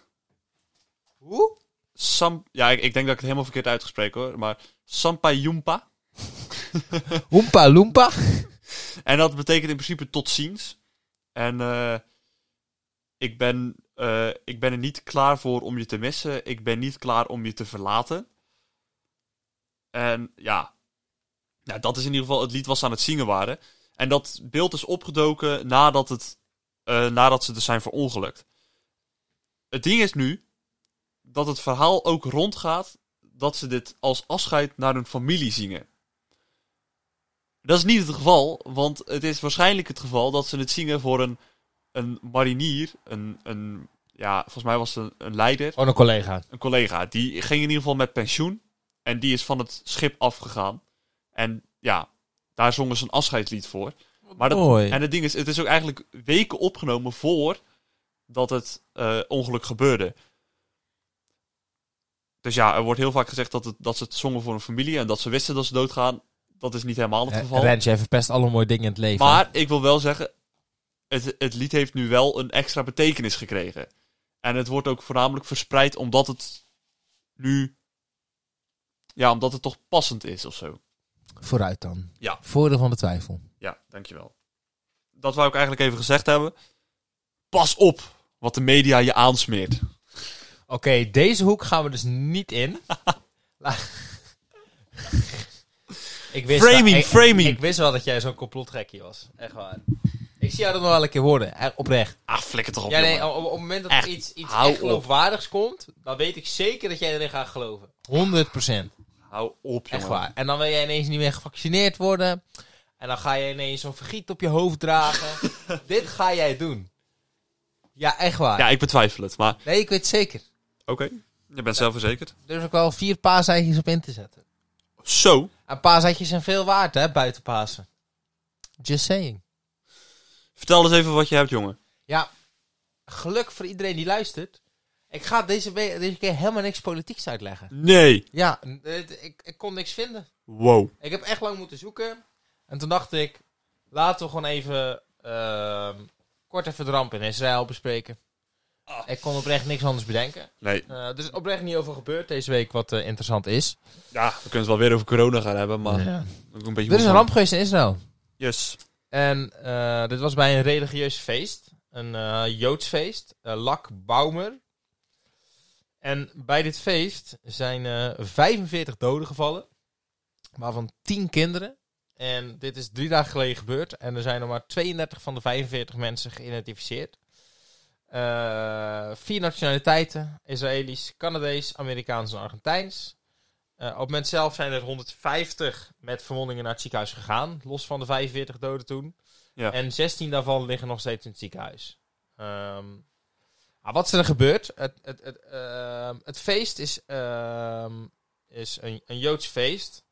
S1: Hoe?
S2: Sam, ja, ik, ik denk dat ik het helemaal verkeerd uitgesproken hoor. Maar Sampai Jumpa.
S1: Oompa Loompa?
S2: En dat betekent in principe tot ziens. En eh, ik, ben, eh, ik ben er niet klaar voor om je te missen. Ik ben niet klaar om je te verlaten. En ja, nou, dat is in ieder geval het lied wat ze aan het zingen waren. En dat beeld is opgedoken nadat, het, eh, nadat ze er zijn verongelukt. Het ding is nu dat het verhaal ook rondgaat dat ze dit als afscheid naar hun familie zingen. Dat is niet het geval, want het is waarschijnlijk het geval dat ze het zingen voor een, een marinier, een, een, ja, volgens mij was het een, een leider,
S1: Gewoon een collega.
S2: een collega. Die ging in ieder geval met pensioen en die is van het schip afgegaan. En ja, daar zongen ze een afscheidslied voor. Maar dat,
S1: mooi.
S2: en het ding is, het is ook eigenlijk weken opgenomen voor dat het eh, ongeluk gebeurde. Dus ja, er wordt heel vaak gezegd dat, het, dat ze het zongen voor een familie en dat ze wisten dat ze doodgaan. Dat is niet helemaal het geval.
S1: Eh, Rens, jij verpest alle mooie dingen in het leven.
S2: Maar ik wil wel zeggen, het, het lied heeft nu wel een extra betekenis gekregen. En het wordt ook voornamelijk verspreid omdat het nu. Ja, omdat het toch passend is of zo.
S1: Vooruit dan.
S2: Ja.
S1: Voordeel van de twijfel.
S2: Ja, dankjewel. Dat wou ik eigenlijk even gezegd hebben. Pas op wat de media je aansmeert.
S1: Oké, deze hoek gaan we dus niet in. La- ik wist
S2: Framing,
S1: ik-
S2: framing.
S1: Ik, wist wel dat jij zo'n complotgekkie was. Echt waar. Ik zie jou dat nog wel een keer worden. Echt Oprecht.
S2: Ah, flikker toch op.
S1: Ja, nee,
S2: jongen.
S1: op, op het moment dat
S2: Echt,
S1: er iets, iets
S2: hou
S1: echt geloofwaardigs komt, dan weet ik zeker dat jij erin gaat geloven. 100
S2: Hou op, jongen.
S1: oh. Echt waar. En dan wil jij ineens niet meer gevaccineerd worden. En dan ga je ineens zo'n vergiet op je hoofd dragen. Dit ga jij doen. Ja, echt waar.
S2: Ja, ik betwijfel het, maar
S1: Nee, ik weet het zeker.
S2: oké. Je bent zelfverzekerd.
S1: Durf ik wel vier paaseitjes op in te zetten.
S2: Zo,
S1: En paaseitjes zijn veel waard, hè, buiten Pasen. Just saying.
S2: vertel eens even wat je hebt, jongen.
S1: Ja, geluk voor iedereen die luistert. Ik ga deze, we- deze keer helemaal niks politieks uitleggen.
S2: Nee.
S1: Ja, het- ik, ik kon niks vinden.
S2: Wow.
S1: Ik heb echt lang moeten zoeken. En toen dacht ik, laten we gewoon even ehm, kort even de ramp in Israël bespreken. Ik kon oprecht niks anders bedenken.
S2: Nee,
S1: Eh, er is oprecht niet over gebeurd deze week wat eh, interessant is.
S2: ja, we kunnen het wel weer over corona gaan hebben, maar... Ook een beetje
S1: Er is een
S2: moeilijk.
S1: ramp geweest in Israël.
S2: Yes.
S1: En eh, dit was bij een religieus feest. Een eh, Joods feest. eh, Lak Baumer. En bij dit feest zijn eh 45 doden gevallen. Waarvan 10 kinderen. En dit is drie dagen geleden gebeurd. En er zijn nog maar 32 van de 45 mensen geïdentificeerd. Eh, vier nationaliteiten. Israëlisch, Canadees, Amerikaans en Argentijns. Eh, op het moment zelf zijn er 150 met verwondingen naar het ziekenhuis gegaan. Los van de 45 doden toen.
S2: Ja.
S1: En 16 daarvan liggen nog steeds in het ziekenhuis. Ehm, ah, wat is er gebeurd? Het, het, het, ehm, het feest is, ehm, is een, een Joods feest.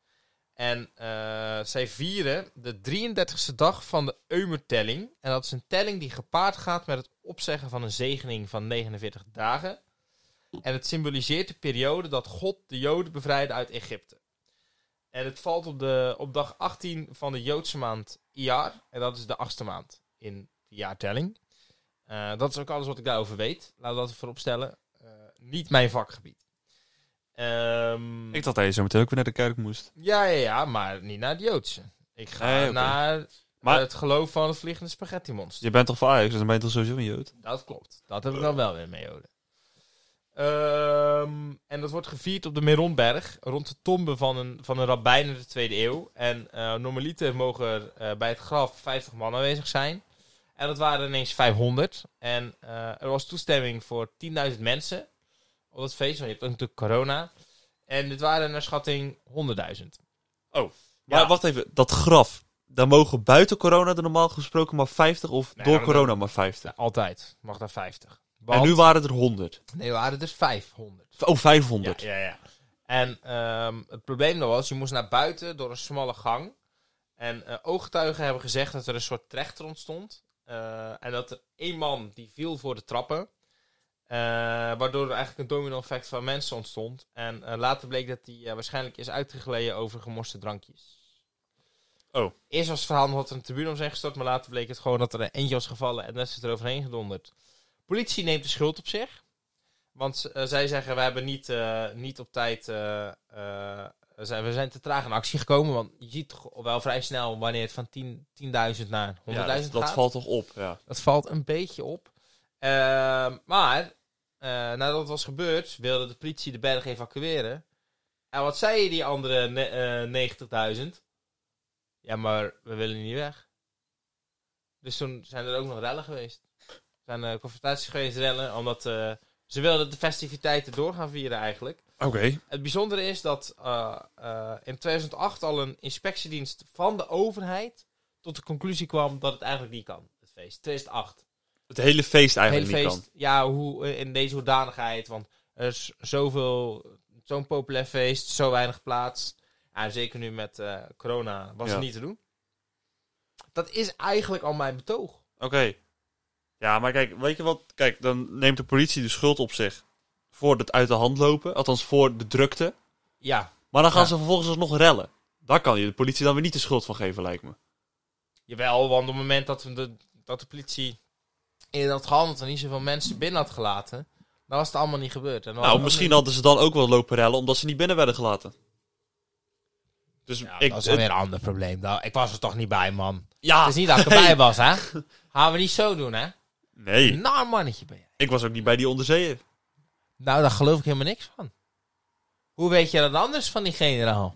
S1: En eh, zij vieren de 33ste dag van de Eumertelling. En dat is een telling die gepaard gaat met het opzeggen van een zegening van 49 dagen. En het symboliseert de periode dat God de Joden bevrijdde uit Egypte. En het valt op, de, op dag 18 van de Joodse maand Iyar. En dat is de achtste maand in de jaartelling. Eh, dat is ook alles wat ik daarover weet. Laten we dat voorop stellen. Eh, niet mijn vakgebied. Ehm,
S2: Ik dacht dat je zo meteen ook weer naar de kerk moest.
S1: Ja, ja, ja, maar niet naar het Joodse. Ik ga
S2: Nee, oké.
S1: naar
S2: Maar-
S1: het geloof van het vliegende spaghetti monster.
S2: Je bent toch van Ajax, dus dan ben je toch sowieso een Jood?
S1: Dat klopt. Dat heb ik dan wel weer mee, Joden. Ehm, en dat wordt gevierd op de Meronberg, rond de tombe van een, van een rabbijn in de 2e eeuw. En eh, normaliter mogen er eh, bij het graf 50 man aanwezig zijn. En dat waren ineens 500. En eh, er was toestemming voor 10.000 mensen op dat feest, want je hebt ook natuurlijk corona. En dit waren naar schatting 100.000.
S2: Maar
S1: Ja.
S2: wacht even, dat graf. Daar mogen buiten corona er normaal gesproken maar 50 of
S1: Nee,
S2: door
S1: maar dat-
S2: corona maar 50.
S1: Nou, altijd mag daar 50.
S2: En
S1: Want-
S2: nu waren er 100.
S1: Nee, waren er 500.
S2: Oh, 500.
S1: Ja, ja, ja. En ehm, het probleem dan was, je moest naar buiten door een smalle gang. En eh, ooggetuigen hebben gezegd dat er een soort trechter ontstond. Eh, en dat er één man die viel voor de trappen. Eh, waardoor er eigenlijk een domino effect van mensen ontstond. En eh, later bleek dat die eh, waarschijnlijk is uitgegleden over gemorste drankjes.
S2: Oh.
S1: Eerst was het verhaal omdat er een tribune om zijn gestort, maar later bleek het gewoon dat er een eentje was gevallen en dat is het eroverheen gedonderd. Politie neemt de schuld op zich, want eh, zij zeggen: We hebben niet, eh, niet op tijd. eh, eh, zijn, we zijn te traag in actie gekomen, want je ziet toch wel vrij snel wanneer het van 10 10.000 naar 100.000
S2: Ja, dat, dat
S1: gaat.
S2: valt toch op, ja.
S1: Dat valt een beetje op. Ehm, maar eh, nadat het was gebeurd, wilde de politie de berg evacueren. En wat zeiden die andere ne- eh, 90.000? Ja, maar we willen niet weg. Dus toen zijn er ook nog rellen geweest. Er zijn eh, confrontaties geweest, rellen, omdat eh, ze wilden de festiviteiten door gaan vieren eigenlijk.
S2: Oké.
S1: Het bijzondere is dat eh, eh, in 2008 al een inspectiedienst van de overheid tot de conclusie kwam dat het eigenlijk niet kan, het feest. 2008.
S2: Het hele feest
S1: Het hele
S2: eigenlijk niet
S1: feest, ja, hoe, eh, in deze hoedanigheid, want er is zoveel, zo'n populair feest, zo weinig plaats. En zeker nu met eh, corona was
S2: Ja.
S1: het niet te doen. Dat is eigenlijk al mijn betoog.
S2: kan. Oké. Ja, maar kijk, weet je wat? Kijk, dan neemt de politie de schuld op zich voor het uit de hand lopen. Althans, voor de drukte.
S1: Ja,
S2: Maar dan gaan
S1: Ja.
S2: ze vervolgens alsnog rellen. Daar kan je de politie dan weer niet de schuld van geven, lijkt me.
S1: Jawel, want op het moment dat de, dat de politie in dat gehandeld en niet zoveel mensen binnen had gelaten, dan was het allemaal niet gebeurd. En dan was
S2: Nou,
S1: het
S2: misschien
S1: ook
S2: hadden ze dan ook wel lopen rellen omdat ze niet binnen werden gelaten. Dus
S1: niet- Ja,
S2: ik,
S1: dat is dan weer een ander probleem. Nou, ik was er toch niet bij, man.
S2: ja,
S1: Het is niet dat ik erbij was, hè? Gaan we niet zo doen, hè?
S2: nee,
S1: Naar mannetje ben jij.
S2: ik was ook niet bij die onderzeeër.
S1: Nou, daar geloof ik helemaal niks van. Hoe weet je dat anders van die generaal?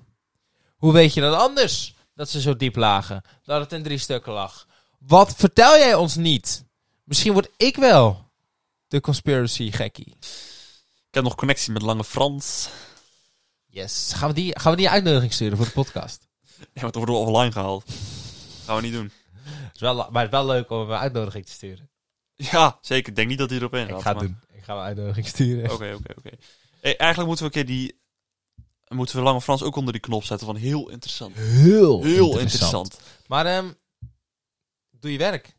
S1: Hoe weet je dat anders? Dat ze zo diep lagen. Dat het in drie stukken lag. Wat vertel jij ons niet? Misschien word ik wel de conspiracy gekkie.
S2: Ik heb nog connectie met Lange Frans.
S1: Yes. Gaan we die, gaan we die uitnodiging sturen voor de podcast?
S2: Ja, want dan worden we offline gehaald. Gaan we niet doen.
S1: is wel, maar het is wel leuk om hem een uitnodiging te sturen.
S2: Ja, zeker. Ik denk niet dat hij erop ingaat.
S1: ik ga het
S2: maar-
S1: doen. Ik ga een uitnodiging sturen.
S2: Oké, oké, oké. Hey, eigenlijk moeten we een keer die... Moeten we Lange Frans ook onder die knop zetten van heel interessant. Heel,
S1: Heel,
S2: interessant.
S1: Maar ehm, doe je werk.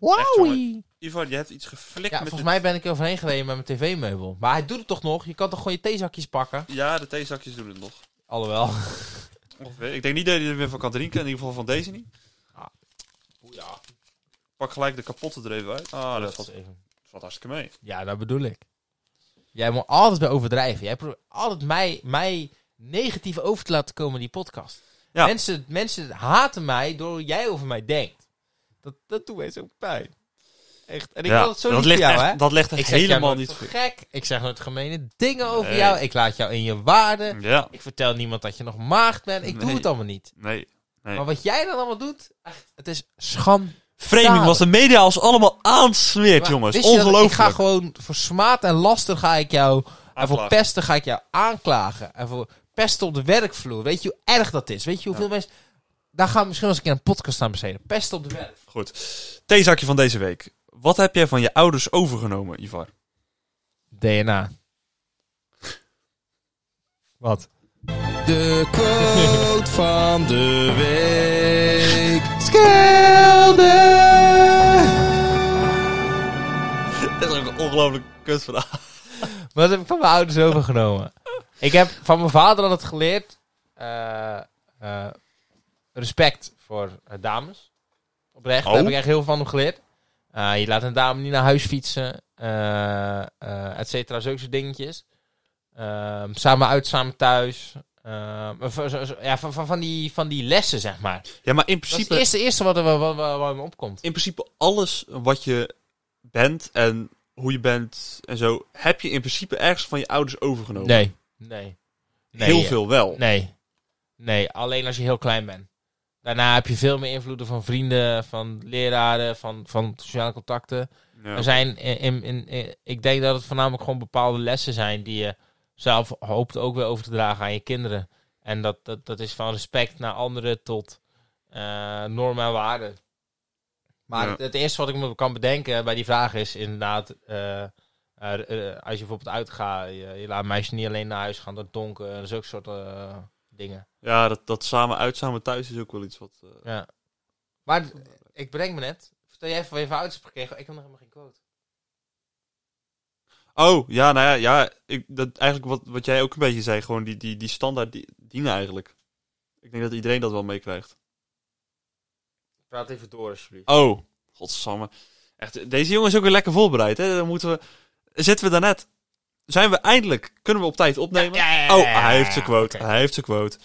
S2: Wauwie. Ivan, je hebt iets geflikt
S1: Ja,
S2: met
S1: volgens
S2: de-
S1: mij ben ik er overheen gereden met mijn tv-meubel. Maar hij doet het toch nog? Je kan toch gewoon je theezakjes pakken?
S2: Ja, de theezakjes doen het nog.
S1: Alhoewel.
S2: Ongeveer. eh, Ik denk niet dat je er weer van kan drinken. In ieder geval van deze niet.
S1: Ja,
S2: Pak gelijk de kapotte er even uit. Ah, dat valt,
S1: even.
S2: valt hartstikke mee.
S1: Ja, dat bedoel ik. Jij moet altijd bij overdrijven. Jij probeert altijd mij, mij negatief over te laten komen in die podcast.
S2: Ja.
S1: Mensen, mensen haten mij door hoe jij over mij denkt. Dat, dat doet mij zo pijn. Echt. En ik wil het zo niet voor
S2: ligt
S1: jou,
S2: echt,
S1: hè?
S2: Dat ligt echt
S1: ik zeg
S2: helemaal
S1: jij
S2: niet
S1: bent
S2: goed.
S1: gek. Ik zeg nooit gemene dingen over
S2: Nee.
S1: jou. Ik laat jou in je waarde.
S2: Ja,
S1: Ik vertel niemand dat je nog maagd bent. Ik doe
S2: Nee.
S1: het allemaal niet.
S2: nee. nee.
S1: Maar wat jij dan allemaal doet, echt, het is schand.
S2: Framing was de media als allemaal aansmeert,
S1: Maar
S2: jongens.
S1: wist je dat
S2: Ongelooflijk.
S1: Ik ga gewoon voor smaad en laster ga ik jou... En voor
S2: Aanklagen.
S1: pesten ga ik jou aanklagen. En voor pesten op de werkvloer. Weet je hoe erg dat is? Weet je hoeveel mensen... Daar gaan we misschien wel eens een keer een podcast aan besteden. Pesten op de werkvloer.
S2: Goed. Theezakje van deze week. Wat heb jij van je ouders overgenomen, Ivar?
S1: DNA. Wat?
S4: De quote van de week.
S2: Dat is ook een ongelooflijk kutvraag.
S1: Wat heb ik van mijn ouders overgenomen? ik heb van mijn vader altijd geleerd... eh, eh, respect voor eh, dames. Oprecht, daar
S2: Oh.
S1: heb ik echt heel veel van hem geleerd. Eh, je laat een dame niet naar huis fietsen. eh, eh, et cetera, zulke soort dingetjes. Ehm, samen uit, samen thuis. Ehm, van- zo- zo- ja, van, van, van, die, van die lessen, zeg maar.
S2: Ja, maar in
S1: Dat is
S2: principe,
S1: het eerste, eerste wat er wat, wat, wat me opkomt.
S2: in principe alles wat je bent en hoe je bent en zo, heb je in principe ergens van je ouders overgenomen.
S1: Nee. Nee. nee.
S2: Heel veel wel.
S1: Nee. Nee, alleen als je heel klein bent. Daarna heb je veel meer invloeden van vrienden, van leraren, van, van sociale contacten.
S2: Ja.
S1: Er zijn in, in, in- in- ik denk dat het voornamelijk gewoon bepaalde lessen zijn die je zelf hoopt ook weer over te dragen aan je kinderen. En dat, dat, dat is van respect naar anderen tot eh, normen en waarden. Maar
S2: Ja.
S1: het, het eerste wat ik me kan bedenken bij die vraag is inderdaad, eh, eh, eh, als je bijvoorbeeld uitgaat, je, je laat een meisje niet alleen naar huis gaan, dat donker, zulke soort eh, dingen.
S2: Ja, dat, dat samen uit, samen thuis is ook wel iets wat... eh,
S1: Ja. Maar d- ik bedenk me net. Vertel jij van je ouders hebt gekregen. Ik heb nog helemaal geen quote.
S2: Oh, ja, nou ja, ja ik, dat, eigenlijk wat, wat jij ook een beetje zei, gewoon die, die, die standaard die, dienen eigenlijk. Ik denk dat iedereen dat wel meekrijgt.
S1: Praat even door, alsjeblieft.
S2: Oh, godsamme. Echt, deze jongen is ook weer lekker voorbereid, hè. Dan moeten we... Zitten we daarnet. Zijn we eindelijk... Kunnen we op tijd opnemen?
S1: Ja, ja, ja, ja,
S2: oh, hij heeft zijn
S1: ja,
S2: quote.
S1: oké.
S2: Hij heeft zijn quote.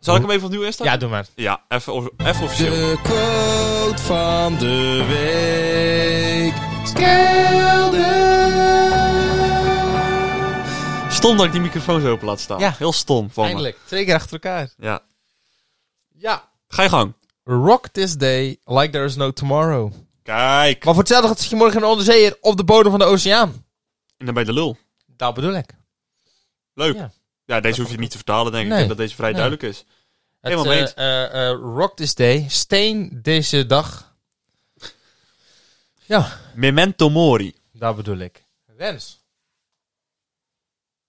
S2: Zal ik hem even opnieuw instaan?
S1: Ja, doe maar.
S2: Ja, even, of- even officieel.
S4: De quote van de week. Skelder.
S2: Stom dat ik die microfoon zo open laat staan.
S1: Ja.
S2: Heel stom van me.
S1: Eindelijk. Twee keer achter elkaar.
S2: Ja.
S1: Ja.
S2: Ga je gang.
S1: Rock this day like there is no tomorrow.
S2: Kijk.
S1: Maar voor hetzelfde geld zit je morgen een onderzeeër op de bodem van de oceaan.
S2: En dan bij de lul.
S1: Dat bedoel ik.
S2: Leuk.
S1: Ja.
S2: Ja, deze hoef je niet te vertalen, denk ik.
S1: Nee.
S2: Ik denk dat deze vrij
S1: Nee.
S2: duidelijk is.
S1: Het,
S2: Helemaal mee eens.
S1: eh, eh, eh, rock this day. Steen deze dag. Ja,
S2: Memento mori.
S1: dat bedoel ik. Rens.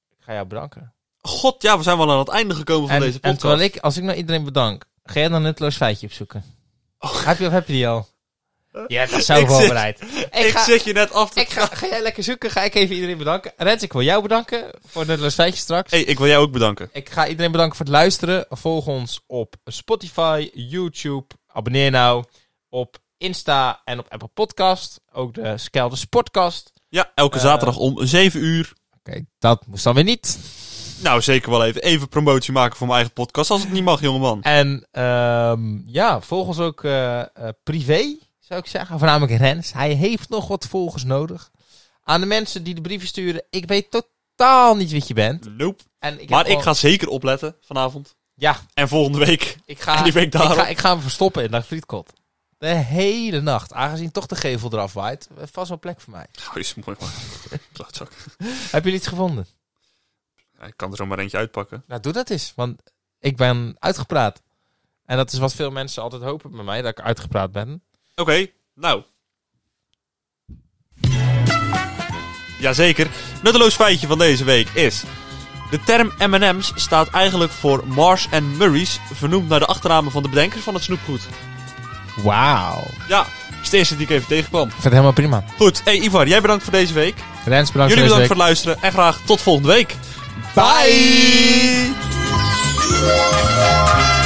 S1: Ik ga jou bedanken.
S2: God, ja, we zijn wel aan het einde gekomen van
S1: En,
S2: deze
S1: en
S2: podcast.
S1: terwijl ik, als ik nou iedereen bedank, ga jij dan een nutteloos feitje opzoeken? Heb, je, of heb je die al? Ja, dat is zo
S2: Oh. Ik zit-
S1: voorbereid. ik,
S2: Ik
S1: ga,
S2: zit je net af te...
S1: ik ga, ga jij lekker zoeken, ga ik even iedereen bedanken. Rens, ik wil jou bedanken voor het nutteloos feitje straks.
S2: Hey, ik wil jou ook bedanken.
S1: Ik ga iedereen bedanken voor het luisteren. Volg ons op Spotify, YouTube. Abonneer nou op Insta en op Apple Podcast. Ook de Skelders Podcast.
S2: Ja, elke
S1: Eh,
S2: zaterdag om 7 uur.
S1: Oké, dat moest dan weer niet.
S2: Nou, zeker wel even. Even promotie maken voor mijn eigen podcast. Als het niet mag, jongeman.
S1: En ehm, ja, volg ons ook eh, eh, privé, zou ik zeggen. Voornamelijk Rens. Hij heeft nog wat volgers nodig. Aan de mensen die de brieven sturen. Ik weet totaal niet wie je bent.
S2: Nope.
S1: En ik heb
S2: Maar ik
S1: al-
S2: ga zeker opletten vanavond.
S1: Ja,
S2: En volgende week.
S1: Ik ga,
S2: En die week
S1: ik
S2: daarop.
S1: ga, ik ga hem verstoppen in dat frietkot. De hele nacht. Aangezien toch de gevel eraf waait. Vast wel plek voor mij.
S2: Oh, is mooi, man. Klootzak.
S1: Heb je iets gevonden?
S2: Ja, Ik kan er zo maar eentje uitpakken.
S1: Nou, doe dat eens. Want ik ben uitgepraat. En dat is wat veel mensen altijd hopen bij mij. Dat ik uitgepraat ben.
S2: Oké, nou. Jazeker. Nutteloos feitje van deze week is... De term M&M's staat eigenlijk voor Mars and Murray's... vernoemd naar de achternamen van de bedenkers van het snoepgoed.
S1: Wauw. Ik
S2: Ja, dat is de eerste die ik even tegenkwam.
S1: vind het helemaal prima.
S2: Goed, hey Ivar, jij bedankt voor deze week.
S1: Rens, bedankt
S2: Jullie
S1: voor
S2: bedankt
S1: deze
S2: voor het luisteren en graag tot volgende week.
S1: Bye!
S2: Bye.